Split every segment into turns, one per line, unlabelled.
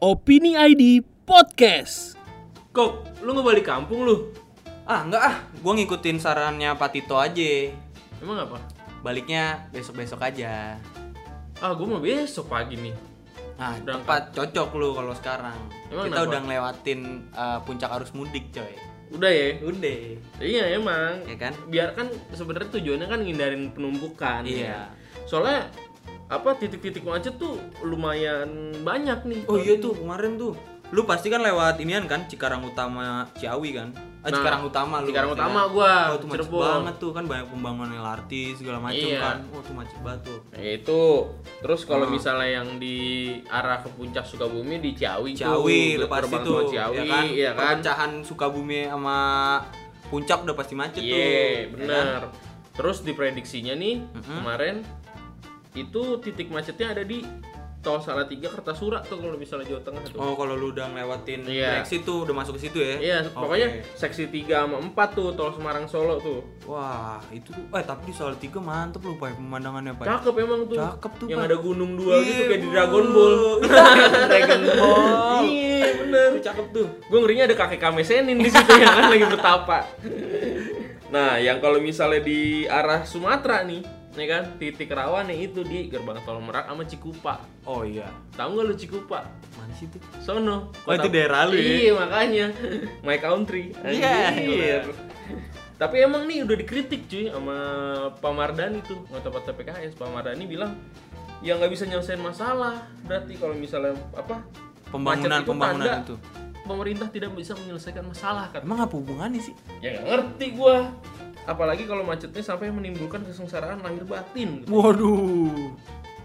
Opini ID Podcast.
Kok, lu nggak balik kampung lu?
Ah enggak ah, gue ngikutin sarannya Pak Tito aja.
Emang apa?
Baliknya besok-besok aja.
Ah, gue mau besok pagi nih.
Nah,
Berangkat.
tepat cocok lu kalau sekarang.
Emang
Kita
kenapa?
udah ngelewatin eh, puncak arus mudik, coy.
Udah ya?
Udah.
Iya emang.
Ya kan?
Biar kan sebenarnya tujuannya kan ngindarin penumpukan.
Iya.
ya. Soalnya apa titik-titik macet tuh lumayan banyak nih.
Oh iya tuh kemarin tuh. Lu pasti kan lewat inian kan Cikarang Utama Ciawi kan? Ah,
Nah,
Cikarang Utama lu.
Cikarang
pasti kan?
Utama gua,
Oh, tuh macet
Cirebon.
banget tuh kan banyak pembangunan LRT segala macam
Iya.
kan. Oh, tuh macet banget tuh.
Nah, itu terus kalau
Hmm.
misalnya yang di arah ke puncak Sukabumi di Ciawi
Ciawi
tuh,
udah pasti
gerbang
tuh.
tol Ciawi
ya kan?
iya kan?
Perpecahan Sukabumi sama Puncak udah pasti macet
Iya,
tuh. ya kan?
bener. Terus diprediksinya nih
Mm-mm.
kemarin itu titik macetnya ada di tol Salatiga Kertasura tuh kalau misalnya Jawa Tengah tuh.
Oh, kalau lu udah ngelewatin
Iya.
direksi tuh udah masuk ke situ ya?
Iya,
Oke.
pokoknya seksi 3 sama 4 tuh tol Semarang Solo tuh.
Wah, itu tuh- eh tapi di soal tiga mantep lu Pak pemandangannya Pak.
Cakep emang tuh.
Cakep tuh,
Yang
Pak.
ada gunung dua
Iya,
gitu kayak di
Bu.
Dragon Ball.
Dragon Ball.
Iya, bener.
Itu cakep tuh.
Gue ngerinya ada kakek kamesenin di situ ya kan lagi bertapa. Nah, yang kalau misalnya di arah Sumatera nih, ya kan titik rawan nih itu di gerbang tol Merak sama Cikupa.
Oh iya.
Tahu nggak lu Cikupa?
Mana sih tuh?
Sono.
Oh, itu daerah lu ya?
Iya, makanya. My country.
Iya,
Anjir. Tapi emang nih udah dikritik cuy sama Pak Mardani tuh, anggota PKS. Pak Mardani bilang ya nggak bisa nyelesain masalah. Berarti kalau misalnya apa?
Pembangunan-
macet
pembangunan
tanda
itu.
Pemerintah tidak bisa menyelesaikan masalah kan?
Emang apa hubungannya sih?
Ya nggak ngerti gua. Apalagi kalau macetnya sampai menimbulkan kesengsaraan lahir batin. gitu.
Waduh.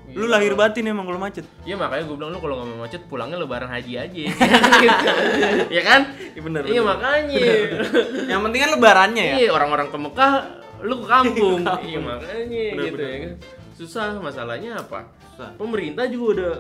Iya.
Lu lahir batin emang kalau macet.
Ya makanya gue bilang lu kalau nggak mau macet pulangnya lebaran haji aja. ya kan?
Iya bener,
Iya
bener.
makanya.
Yang penting kan lebarannya ya.
Iya orang-orang ke Mekah lu ke kampung.
Ke kampung.
iya makanya
Bener,
gitu
bener.
ya kan. Susah masalahnya apa?
Susah.
Pemerintah juga udah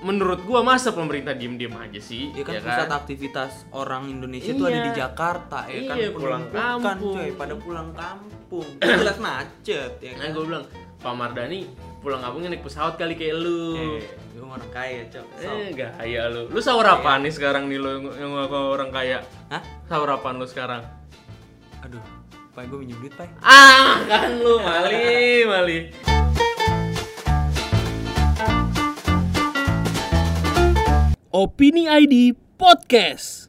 menurut gua masa pemerintah diem-diem aja sih?
Ya kan pusat aktivitas orang Indonesia itu ada
Iya.
di Jakarta ya kan
Iya, pulang
penumpukan,
kampung.
coy, pada pulang kampung. Jelas macet ya
Nah
kan.
gue bilang Pak Mardani pulang kampungnya naik pesawat kali kayak lu.
Eh, gue orang kaya, Cok. So.
Iya. Eh, gaya lu. Lu sahur
Iya.
apaan nih sekarang nih lu yang ngaku orang kaya?
Hah?
Sahur apaan lu sekarang?
Aduh, Pak gue minjem duit, Pak.
Ah, kan lu mali, mali.
Opini ID Podcast.